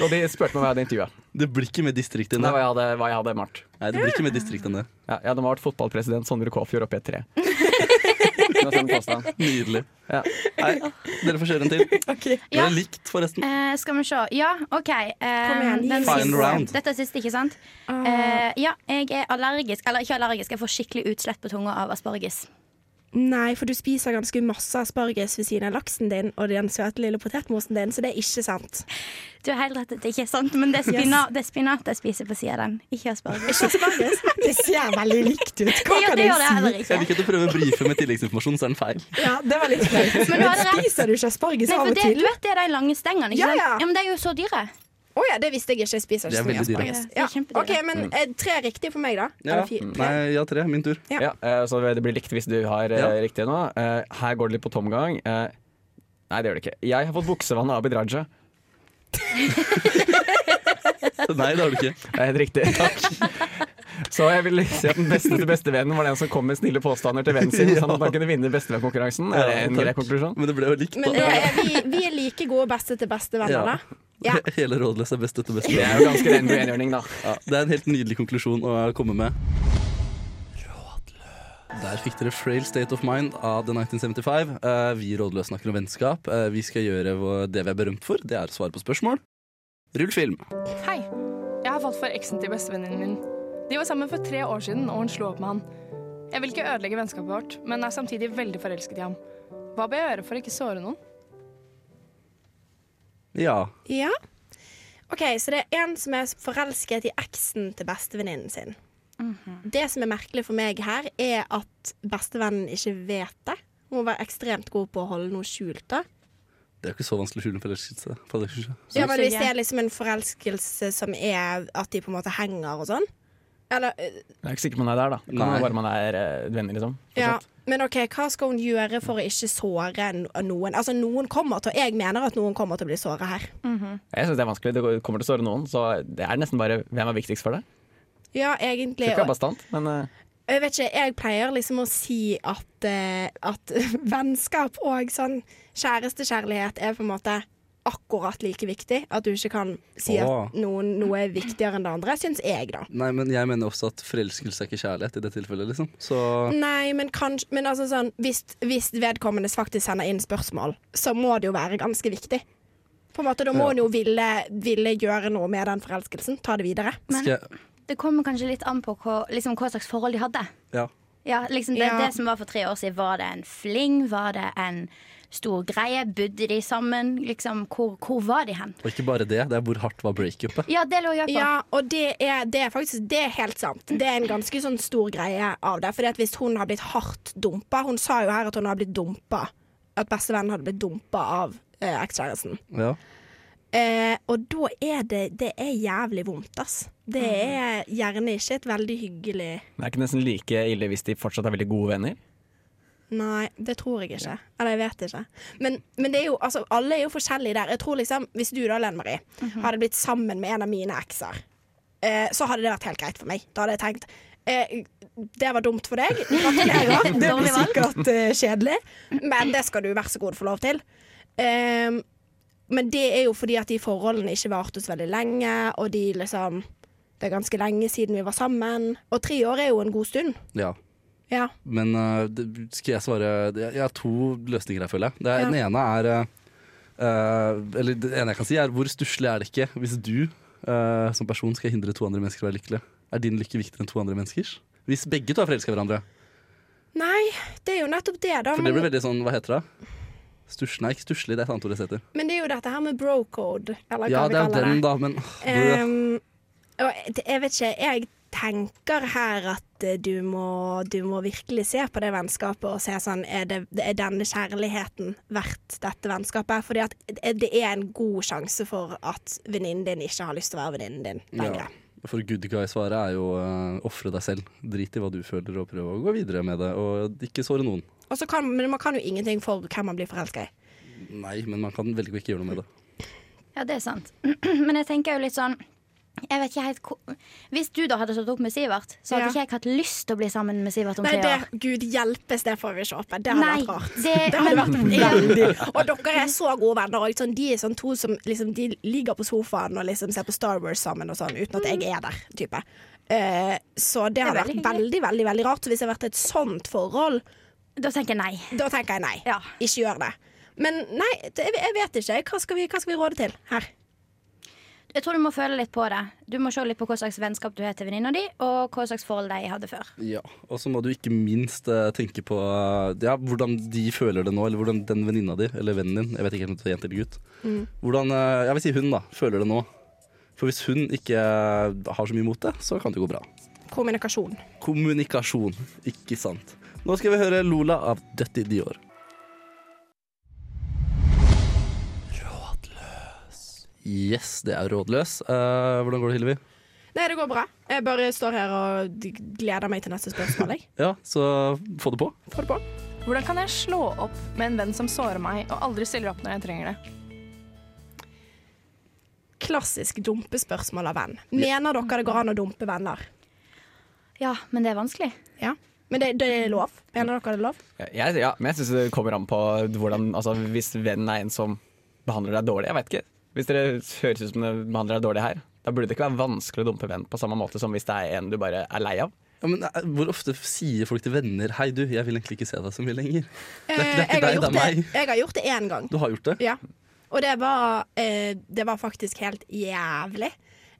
og de spurte meg hva jeg hadde intervjua.
Det blir ikke mer distrikt enn
Hva
det.
jeg hadde, hva jeg hadde malt.
Nei, det blir ikke mer distrikt enn det.
Ja, jeg hadde malt fotballpresident Sondre Kåfjord opp i et tre. Det var sånn påstand.
Nydelig.
Ja.
Nei, dere får kjøre en til.
Ok.
Dere
Ja.
er likt, forresten.
Eh, skal vi se. Ja, OK. eh,
igjen, gi Ah.
den
meg
en
siste.
round.
Dette er siste, ikke sant? Eh, ja, jeg er allergisk. Eller ikke allergisk, jeg får skikkelig utslett på tunga av asparges.
Nei, for du spiser ganske masse asparges ved siden av laksen din og den søte lille potetmosen din, så det er ikke sant.
Du har helt rett, det er ikke sant, men det er spinat, det er spinat jeg spiser på sida av den. Ikke asparges.
Asparges, det ser veldig likt ut. Hva
Det gjør
kan
det gjør det
jeg si?
heller
Jeg
ikke.
liker at du prøver å brife med tilleggsinformasjon, så er den feil.
Ja, det var litt flaut.
Men du hadde rett.
Spiser du ikke asparges
Nei,
av
for
og
det, du
til? Å
vet det er de lange stengene, ikke
Ja,
sant?
ja.
Ja, men de er jo så dyre.
ja, det visste jeg ikke. Jeg spiser
Det
ikke
er
så mye
veldig dyre.
asparges.
Det er
Ja.
kjempedyre.
OK, men eh, tre riktige for meg, da.
Ja.
Eller fire.
Nei, ja, tre. Min tur.
Ja, eh, så det blir likt hvis du har eh,
Ja.
riktig nå. Eh, Her går det litt på tomgang. Eh, Nei, det gjør det ikke. Jeg har fått buksevann av Abid Raja.
Nei, det har du ikke.
Det er Eh, helt riktig. Så jeg vil si at den beste til bestevennen var den som kom med snille påstander til vennen sin, sånn at han kunne vinne bestevennkonkurransen. Er det en
Ja,
grei
takk.
konklusjon?
Men det ble jo likt,
Men
da.
da er vi, vi er like gode beste til
Ja.
bestevenner, da. Ja.
Hele rådløs er best etter beste.
Det er jo ganske ren enhjørning, da.
Ja, det er en helt nydelig konklusjon å komme med. Der fikk dere 'Frail State of Mind' av The 1975. Eh, vi rådløse snakker om vennskap. Eh, vi skal gjøre vår- det vi er berømt for. Det er å svare på spørsmål. Rull film.
Hei. Jeg har falt for eksen til bestevenninnen min. De var sammen for tre år siden, og hun slo opp med han. Jeg vil ikke ødelegge vennskapet vårt, men er samtidig veldig forelsket i ham. Hva bør jeg gjøre for å ikke såre noen?
Ja.
ja. OK, så det er en som er forelsket i eksen til bestevenninnen sin. Det som er merkelig for meg her, er at bestevennen ikke vet det. Hun var ekstremt god på å holde noe skjult. da
Det er jo ikke så vanskelig å skjule en forelskelse. forelskelse.
Ja, men Hvis det er liksom en forelskelse som er at de på en måte henger og sånn Eller eh,
Jeg er ikke sikker på om man er der, da. Kan
Nei.
være man er eh, venner, liksom.
ja. Men OK, hva skal hun gjøre for å ikke såre no- noen? Altså, noen kommer til Jeg mener at noen kommer til å bli såra her.
Jeg syns det er vanskelig. Det går- kommer til å såre noen, så det er nesten bare hvem er viktigst for deg.
Ja,
Skal
egentlig.
ikke være bastant, men eh,
Jeg vet ikke, jeg pleier liksom å si at, eh, at vennskap og sånn kjærestekjærlighet er på en måte akkurat like viktig. At du ikke kan si
Åh.
at noen, noe er viktigere enn det andre, syns jeg, da.
Nei, men jeg mener også at forelskelse er ikke kjærlighet i det tilfellet, liksom. Så
Nei, men, kanskj- men altså sånn, hvis, hvis vedkommende faktisk sender inn spørsmål, så må det jo være ganske viktig. På en måte, Da må hun jo ville, ville gjøre noe med den forelskelsen. Ta det videre.
skal
Men
jeg
det kommer kanskje litt an på hva, liksom, hva slags forhold de hadde.
Ja.
Ja, liksom det,
Ja.
det som var for tre år siden, var det en fling? Var det en stor greie? Bodde de sammen? Liksom, hvor, hvor var de hen?
Og ikke bare det, det er hvor hardt var breakupet.
Ja, det lå jeg på.
Ja, og det er, det er faktisk det er helt sant. Det er en ganske sånn stor greie av det. For hvis hun har blitt hardt dumpa Hun sa jo her at hun har blitt dumpa. At bestevennen hadde blitt dumpa av eh, ekskjæresten.
Ja.
Eh, og da er det Det er jævlig vondt, ass. Det er gjerne ikke et veldig hyggelig
det er ikke nesten like ille hvis de fortsatt er veldig gode venner.
Nei, det tror jeg ikke. Eller jeg vet ikke. Men, men det er jo, altså, alle er jo forskjellige der. Jeg tror liksom, Hvis du da, Lene Marie, hadde blitt sammen med en av mine ekser, eh, så hadde det vært helt greit for meg. Da hadde jeg tenkt eh, det var dumt for deg. Gratulerer. Det blir sikkert eh, kjedelig, men det skal du vær så god få lov til. Eh, men det er jo fordi at de forholdene ikke varte så veldig lenge, og de liksom Det er ganske lenge siden vi var sammen. Og tre år er jo en god stund.
ja.
Ja.
Men øh, det, skal jeg svare det- Jeg har to løsninger her, føler jeg. Det er,
Ja.
Den ene er øh, øh, Eller det ene jeg kan si, er hvor stusslig er det ikke hvis du øh, som person skal hindre to andre mennesker i å være lykkelige? Er din lykke viktigere enn to andre menneskers? Hvis begge to er forelska i hverandre.
Nei, det er jo nettopp det, da.
For
men-
det blir veldig sånn, hva heter det? Stuss, nei, ikke stusslig, det er et annet ord det heter.
Men det er jo dette her med brocode, eller hva
Ja,
vi
det er jo
kaller
den,
det.
da, men
Ehm, og jeg- jeg vet ikke, jeg tenker her at eh, du må, du må virkelig se på det vennskapet og se sånn, er, det, er denne kjærligheten verdt dette vennskapet? Fordi at det er en god sjanse for at venninnen din ikke har lyst til å være venninnen din lenger.
ja. For good guy-svaret er jo uh, ofre deg selv. Drit i hva du føler, og prøv å gå videre med det. Og ikke såre noen.
Og så kan, men man kan jo ingenting for hvem man blir forelska i.
Nei, men man kan velge å ikke gjøre noe med det.
Ja, det er sant. Men jeg tenker jo litt sånn jeg vet ikke helt hvor- Hvis du da hadde slått opp med Sivert, så
Ja.
hadde ikke jeg hatt lyst til å bli sammen med Sivert om
Nei,
tre år.
det, Gud hjelpes, det får vi ikke håpe. Det hadde
Nei,
vært rart.
det-
Det hadde
men-
vært veldig Og dere er så gode venner. Og sånn, de er sånn to som liksom, de ligger på sofaen og liksom ser på Star Wars sammen og sånn, uten at jeg er der. type Eh, Så det hadde vært
veldig
veldig, veldig veldig rart. Så hvis det hadde vært et sånt forhold,
Da tenker jeg nei.
da tenker jeg nei.
Ja.
Ikke gjør det. Men nei, det, jeg- jeg vet ikke. Hva skal, vi, hva skal vi råde til her?
Jeg tror du må føle litt på det. Du må se litt på hva slags vennskap du har til venninna di, og hva slags forhold de hadde før.
Ja, og så må du ikke minst eh, tenke på eh, ja, hvordan de føler det nå, eller hvordan den venninna di, eller vennen din, jeg vet ikke helt om det er jente eller gutt, hvordan, eh, jeg vil si hun da, føler det nå. For hvis hun ikke eh, har så mye mot det, så kan det gå bra.
Kommunikasjon.
Kommunikasjon, ikke sant. Nå skal vi høre Lola av Dødt i Dior. Rådløs. Yes, det er rådløs. Eh, hvordan går det, Hillevi?
Nei, det går bra. Jeg bare står her og d- gleder meg til neste spørsmål. Jeg.
Ja, så få det på.
Få det på.
Hvordan kan jeg slå opp med en venn som sårer meg og aldri stiller opp når jeg trenger det?
Klassisk dumpespørsmål av venn. Mener dere det går an å dumpe venner?
Ja, men det er vanskelig.
Ja. Men det, det er lov? Mener dere det er lov?
Jeg, ja, men jeg syns det kommer an på hvordan altså, Hvis vennen er en som behandler deg dårlig, jeg vet ikke. Hvis dere høres ut som det behandler deg dårlig her, da burde det ikke være vanskelig å dumpe venn på samme måte som hvis det er en du bare er lei av.
Ja, men eh, Hvor ofte sier folk til venner 'hei, du, jeg vil egentlig ikke se deg så mye lenger'? Det er, det er
Eh, jeg,
ikke deg,
har
det
gjort
er
det,
meg.
jeg har gjort det én gang.
Du har gjort det?
Ja. Og det var, eh, det var faktisk helt jævlig.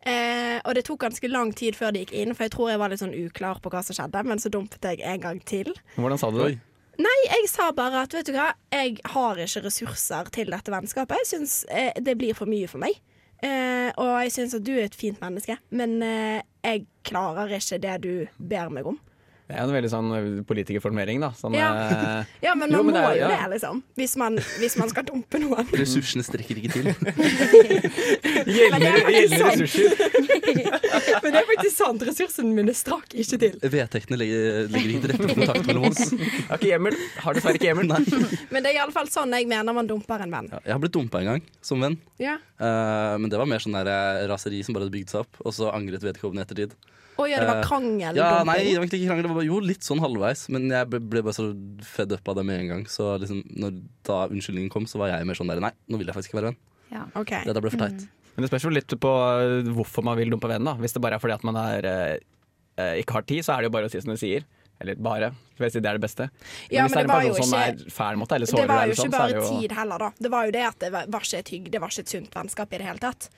Eh, og det tok ganske lang tid før det gikk inn, for jeg tror jeg var litt sånn uklar på hva som skjedde. Men så dumpet jeg en gang til.
Hvordan sa du det?
Oi.
Nei, jeg sa bare at vet du hva, jeg har ikke ressurser til dette vennskapet. Jeg syns eh, det blir for mye for meg. Eh, og jeg syns at du er et fint menneske, men eh, jeg klarer ikke det du ber meg om.
Det er en veldig sånn politikerformulering, da. Sånn,
Ja.
eh,
Ja, men man
Jo, men det
må
er-
jo
ja.
det, liksom. Hvis man, hvis man skal dumpe noen.
Ressursene strekker ikke til.
Gjeldende
Men det er
gjeldende ressurser.
Men det er faktisk sant. Ressursene mine strakk ikke til.
Vedtektene legger, legger ikke til rette for kontakt mellom oss.
Har ikke hjemmel. Har dessverre ikke hjemmel.
Nei.
Men det er iallfall sånn jeg mener man dumper en venn.
Ja, Jeg har blitt dumpa en gang, som venn.
Ja.
Eh, men det var mer sånn der eh, raseri som bare hadde bygd seg opp, og så angret vedkommende i ettertid.
Å ja, det var
Eh, Ja,
krangel. dumping.
nei, det var egentlig ikke krangel. Det var bare, jo, litt sånn halvveis, men jeg ble, ble bare så fed up av det med en gang. Så liksom, når da unnskyldningen kom, så var jeg mer sånn der nei, nå vil jeg faktisk ikke være venn.
Ja.
Ok.
Dette ble for teit.
Men det spørs jo litt på eh, hvorfor man vil dumpe vennen. da Hvis det bare er fordi at man er, eh, eh, ikke har tid, så er det jo bare å si som du sier. Eller bare. Skal jeg si det er det beste.
Ja,
hvis
men
det er
det
en
var
person
jo
som
ikke-
er fæl mot deg, eller
Det
sårer deg,
var jo
eller
ikke
sånn, så er det
bare
jo
tid heller, da. Det var jo det at det var var ikke et hygg, det var ikke et sunt vennskap i det hele tatt.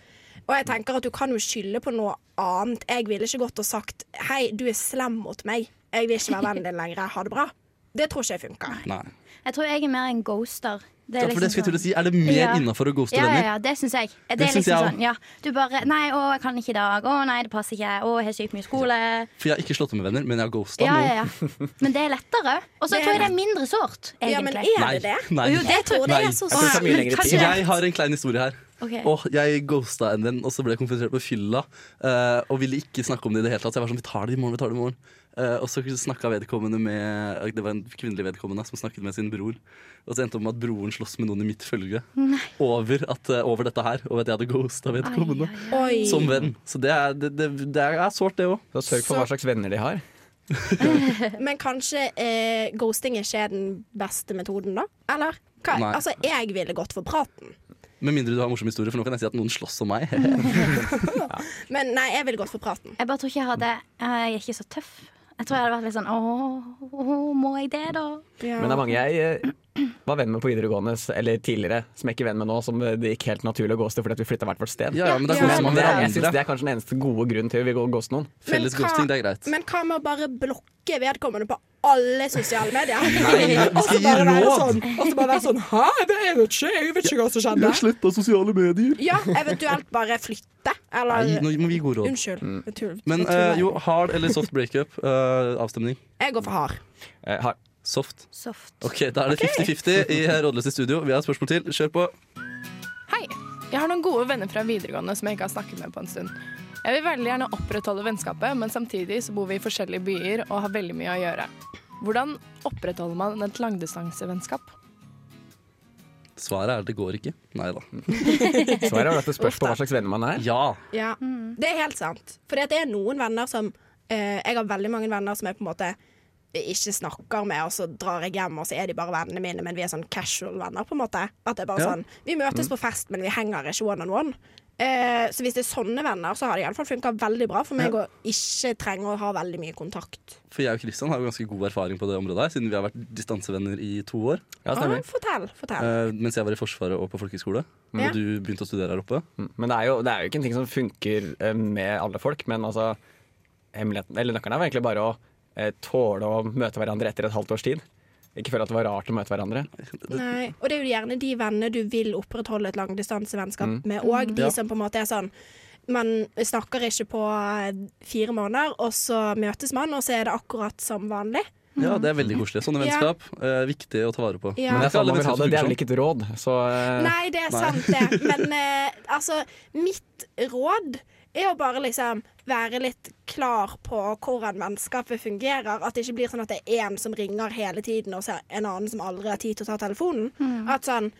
Og jeg tenker at du kan jo skylde på noe annet. Jeg ville ikke gått og sagt 'hei, du er slem mot meg', jeg vil ikke være vennen din lenger, ha det bra. Det tror ikke jeg funker.
Nei.
Jeg tror jeg er mer en ghoster. Det liksom
Ja, for det skulle jeg til å si. Er det mer
sånn Ja.
innafor å ghoste
ja, ja,
venner?
ja, det syns jeg. Det,
Det
er
syns
liksom
jeg også.
sånn, ja. Du bare Nei, å, jeg kan ikke i dag. Å, nei, det passer ikke. Å, jeg har sykt mye skole.
For jeg har ikke slått opp med venner, men jeg har ghosta
Ja,
noen.
ja, ja. Men det er lettere. Og så
Det er
tror jeg det er mindre sårt, egentlig.
Ja, men er det sånn, det?
Nei.
Jo, det tror
Nei.
jeg er så
Jeg tror det tar mye
Men
lengre
kanskje
tid.
det-
Jeg har en klein historie her.
Ok.
Og jeg ghosta en venn, og så ble jeg konfrontert på fylla. eh, og ville ikke snakke om det i det hele tatt. Så jeg var sånn, vi tar det i morgen, vi tar det i morgen. Eh, og så snakka vedkommende med Det var en kvinnelig vedkommende som snakket med sin bror. Og så endte det opp med at broren sloss med noen i mitt følge over, at, eh, over dette her. Over at jeg hadde ghosta vedkommende.
Oi.
Som venn. Så det er, det, det, det er sårt, det òg.
Så sørg for hva slags venner de har.
Men kanskje eh, ghosting ikke er den beste metoden, da? Eller? Hva?
Nei.
Altså, jeg ville gått for praten.
Med mindre du har en morsom historie, for nå kan jeg si at noen sloss om meg.
Men nei, jeg ville gått for praten.
Jeg bare tror ikke jeg hadde Jeg er ikke så tøff. Jeg tror jeg hadde vært litt sånn Å, må jeg det, da?
Ja.
Men det er mange jeg eh, var venn med på videregående, s- eller tidligere, som jeg ikke er venn med nå, som eh, det gikk helt naturlig å ghoste fordi at vi flytta hvert vårt sted.
Ja, ja, men da
Ja,
koser man
Det er- Jeg synes
hverandre.
det er kanskje den eneste gode grunnen til å ville ghoste noen.
Felles
Men hva-
ghosting, det er greit.
Men hva med å bare blokke vedkommende på alle sosiale medier?
Vi skal gi
være
råd!
sånn, og så bare være sånn Hæ, det er jo ikke Jeg vet ikke hva som skjedde.
sletta sosiale medier.
Ja, eventuelt bare flytte.
Nei,
Eller
nå må vi gi gode råd.
Unnskyld. Jeg tull-
Men
jeg tuller.
eh, jo, hard eller soft breakup? eh, avstemning.
Jeg går for hard.
Eh, har-
Soft.
Soft.
Ok, Da er det 50-50 i Rådløse studio. Vi har et spørsmål til. Kjør på.
Hei! Jeg har noen gode venner fra videregående som jeg ikke har snakket med på en stund. Jeg vil veldig gjerne opprettholde vennskapet, men samtidig så bor vi i forskjellige byer og har veldig mye å gjøre. Hvordan opprettholder man et langdistansevennskap?
Svaret er det går ikke. Nei da.
Svaret er vel at det spørs på hva slags venner man er.
Ja.
Ja, det er helt sant. For det er noen venner som eh, Jeg har veldig mange venner som jeg på en måte eh, ikke snakker med, og så drar jeg hjem, og så er de bare vennene mine, men vi er sånn casual venner, på en måte. At det er bare
Ja.
sånn Vi møtes på fest, men vi henger ikke one on one. Eh, så hvis det er sånne venner, så har det iallfall funka veldig bra for meg å ikke trenge å ha veldig mye kontakt.
For jeg og Kristian har jo ganske god erfaring på det området, her, siden vi har vært distansevenner i to år.
Ja,
Ah,
stemmer.
fortell, fortell.
eh, mens jeg var i Forsvaret og på folkehøyskole.
Ja.
Og du begynte å studere her oppe.
Men det er, jo, det er jo ikke en ting som funker eh, med alle folk. Men altså, hemmeligheten, eller nøkkelen er jo egentlig bare å eh, tåle å møte hverandre etter et halvt års tid. Ikke føle at det var rart å møte hverandre.
Nei. Og det er jo gjerne de vennene du vil opprettholde et langdistansevennskap med, og de
Ja.
som på en måte er sånn man snakker ikke på eh, fire måneder, og så møtes man, og så er det akkurat som vanlig.
Ja, Det er veldig koselig. Sånne
Ja.
vennskap. eh, viktig å ta vare på.
Ja.
Men
ikke
det er sånn
alle
man vil ha
vennskap som
det. Det er
funker
vel ikke et råd. Så eh,
Nei, det er sant, det. Men eh, altså, mitt råd er å bare liksom være litt klar på hvordan vennskapet fungerer. At det ikke blir sånn at det er én som ringer hele tiden, og så er en annen som aldri har tid til å ta telefonen. At sånn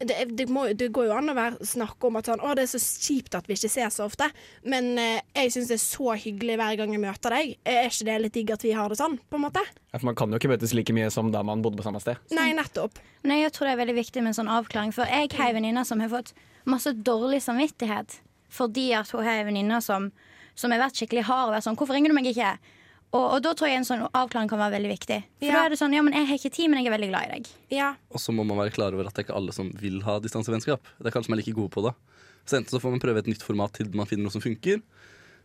det, er- det, må, det går jo an å være, snakke om at sånn, å, det er så kjipt at vi ikke ses så ofte, men eh, jeg syns det er så hyggelig hver gang jeg møter deg. Er ikke det litt digg at vi har det sånn, på en måte?
ja, for man kan jo ikke møtes like mye som da man bodde på samme sted.
Nei, nettopp.
Men jeg tror det er veldig viktig med en sånn avklaring, for jeg har en venninne som har fått masse dårlig samvittighet fordi at hun har en venninne som, som har vært skikkelig hard og vært sånn 'Hvorfor ringer du meg ikke?' Og, og da tror jeg en sånn avklaring kan være veldig viktig. For
Ja.
da er det sånn 'Ja, men jeg har ikke tid, men jeg er veldig glad i deg'.
Ja.
Og så må man være klar over at det er ikke alle som vil ha distansevennskap. Det er kanskje man er like gode på det. Så enten så får man prøve et nytt format til man finner noe som funker.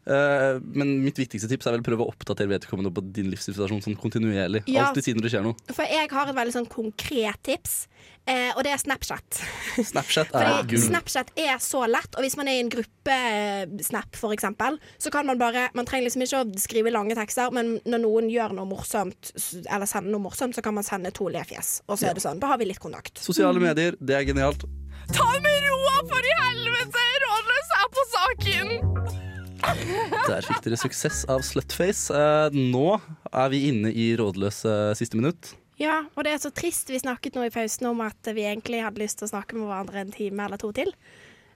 Eh, men mitt viktigste tips er vel prøve å oppdatere vedkommende på din livssituasjon sånn kontinuerlig.
Ja.
Alltid si når det skjer noe.
For jeg har et veldig sånn konkret tips, eh, og det er Snapchat.
Snapchat er
Fordi
gull.
Snapchat er så lett, og hvis man er i en gruppe-snap for eksempel, så kan man bare Man trenger liksom ikke å skrive lange tekster, men når noen gjør noe morsomt, s- eller sender noe morsomt, så kan man sende to lefjes, og så er det sånn. Da har vi litt kontakt.
Sosiale medier, det er genialt.
Ta det med roa, for i helvete! Rådløs er på saken!
Der fikk dere suksess av Slutface. Eh, nå er vi inne i rådløs eh, siste minutt.
Ja, og det er så trist. Vi snakket nå i pausen om at vi egentlig hadde lyst til å snakke med hverandre en time eller to til.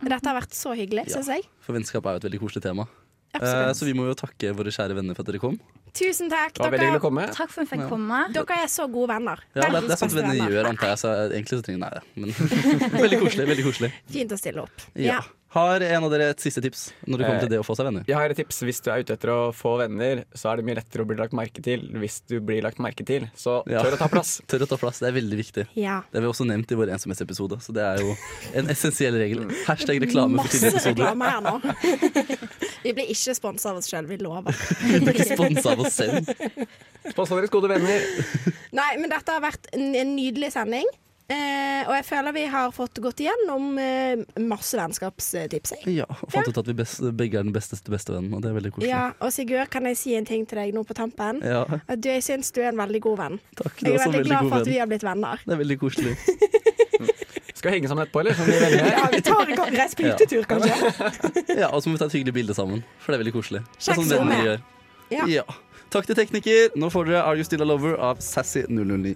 Men Dette har vært så hyggelig,
Ja.
syns jeg.
For vennskap er jo et veldig koselig tema. Eh,
Absolutt.
så vi må jo takke våre kjære venner for at dere kom.
Tusen takk.
Det var veldig
Dere,
hyggelig å komme.
Takk for at jeg fikk komme.
dere er så gode venner.
Ja, det, er- det er
Verdens
sånt
beste
venner
venner.
gjør, antar jeg. Så egentlig så trenger Nei, det. Men veldig koselig. veldig koselig.
Fint å stille opp.
Ja.
Ja.
Har en av dere et siste tips når det kommer
Eh,
til det å få seg venner?
Jeg har et tips. Hvis du er ute etter å få venner, så er det mye lettere å bli lagt merke til hvis du blir lagt merke til. Så
Ja.
tør å ta plass.
Tør å ta plass, det er veldig viktig.
ja.
Det har vi også nevnt i vår ensomhetsepisode, så det er jo en essensiell regel. Hashtag reklame for tidlig
Masse
episode.
reklame her nå. Vi blir ikke sponsa av oss sjøl, vi lover.
Sponsa av oss selv.
Spons deres gode venner.
Nei, men dette har vært en en nydelig sending. Eh, og jeg føler vi har fått gått igjennom eh, masse vennskapstips. jeg.
Ja, og fant ut at vi best, begge er den beste til bestevennen, og det er veldig koselig.
Ja, og Sigurd, kan jeg si en ting til deg nå på tampen?
Ja,
At du, jeg syns du er en veldig god venn.
takk. Du
Jeg
er
er
også en
veldig
veldig
glad
god
for at vi
venn.
har blitt venner.
Det er veldig koselig.
Skal vi henge sammen etterpå, eller? Som vi venner.
Ja, vi tar en reis på hyttetur, kanskje.
Ja, Og så må vi ta et hyggelig bilde sammen, for det er veldig koselig. Det er
Sjekk
sånn venner
Zoom,
gjør.
ja.
Ja. Takk til tekniker. Nå får dere Are You Still A Lover av Sassy009.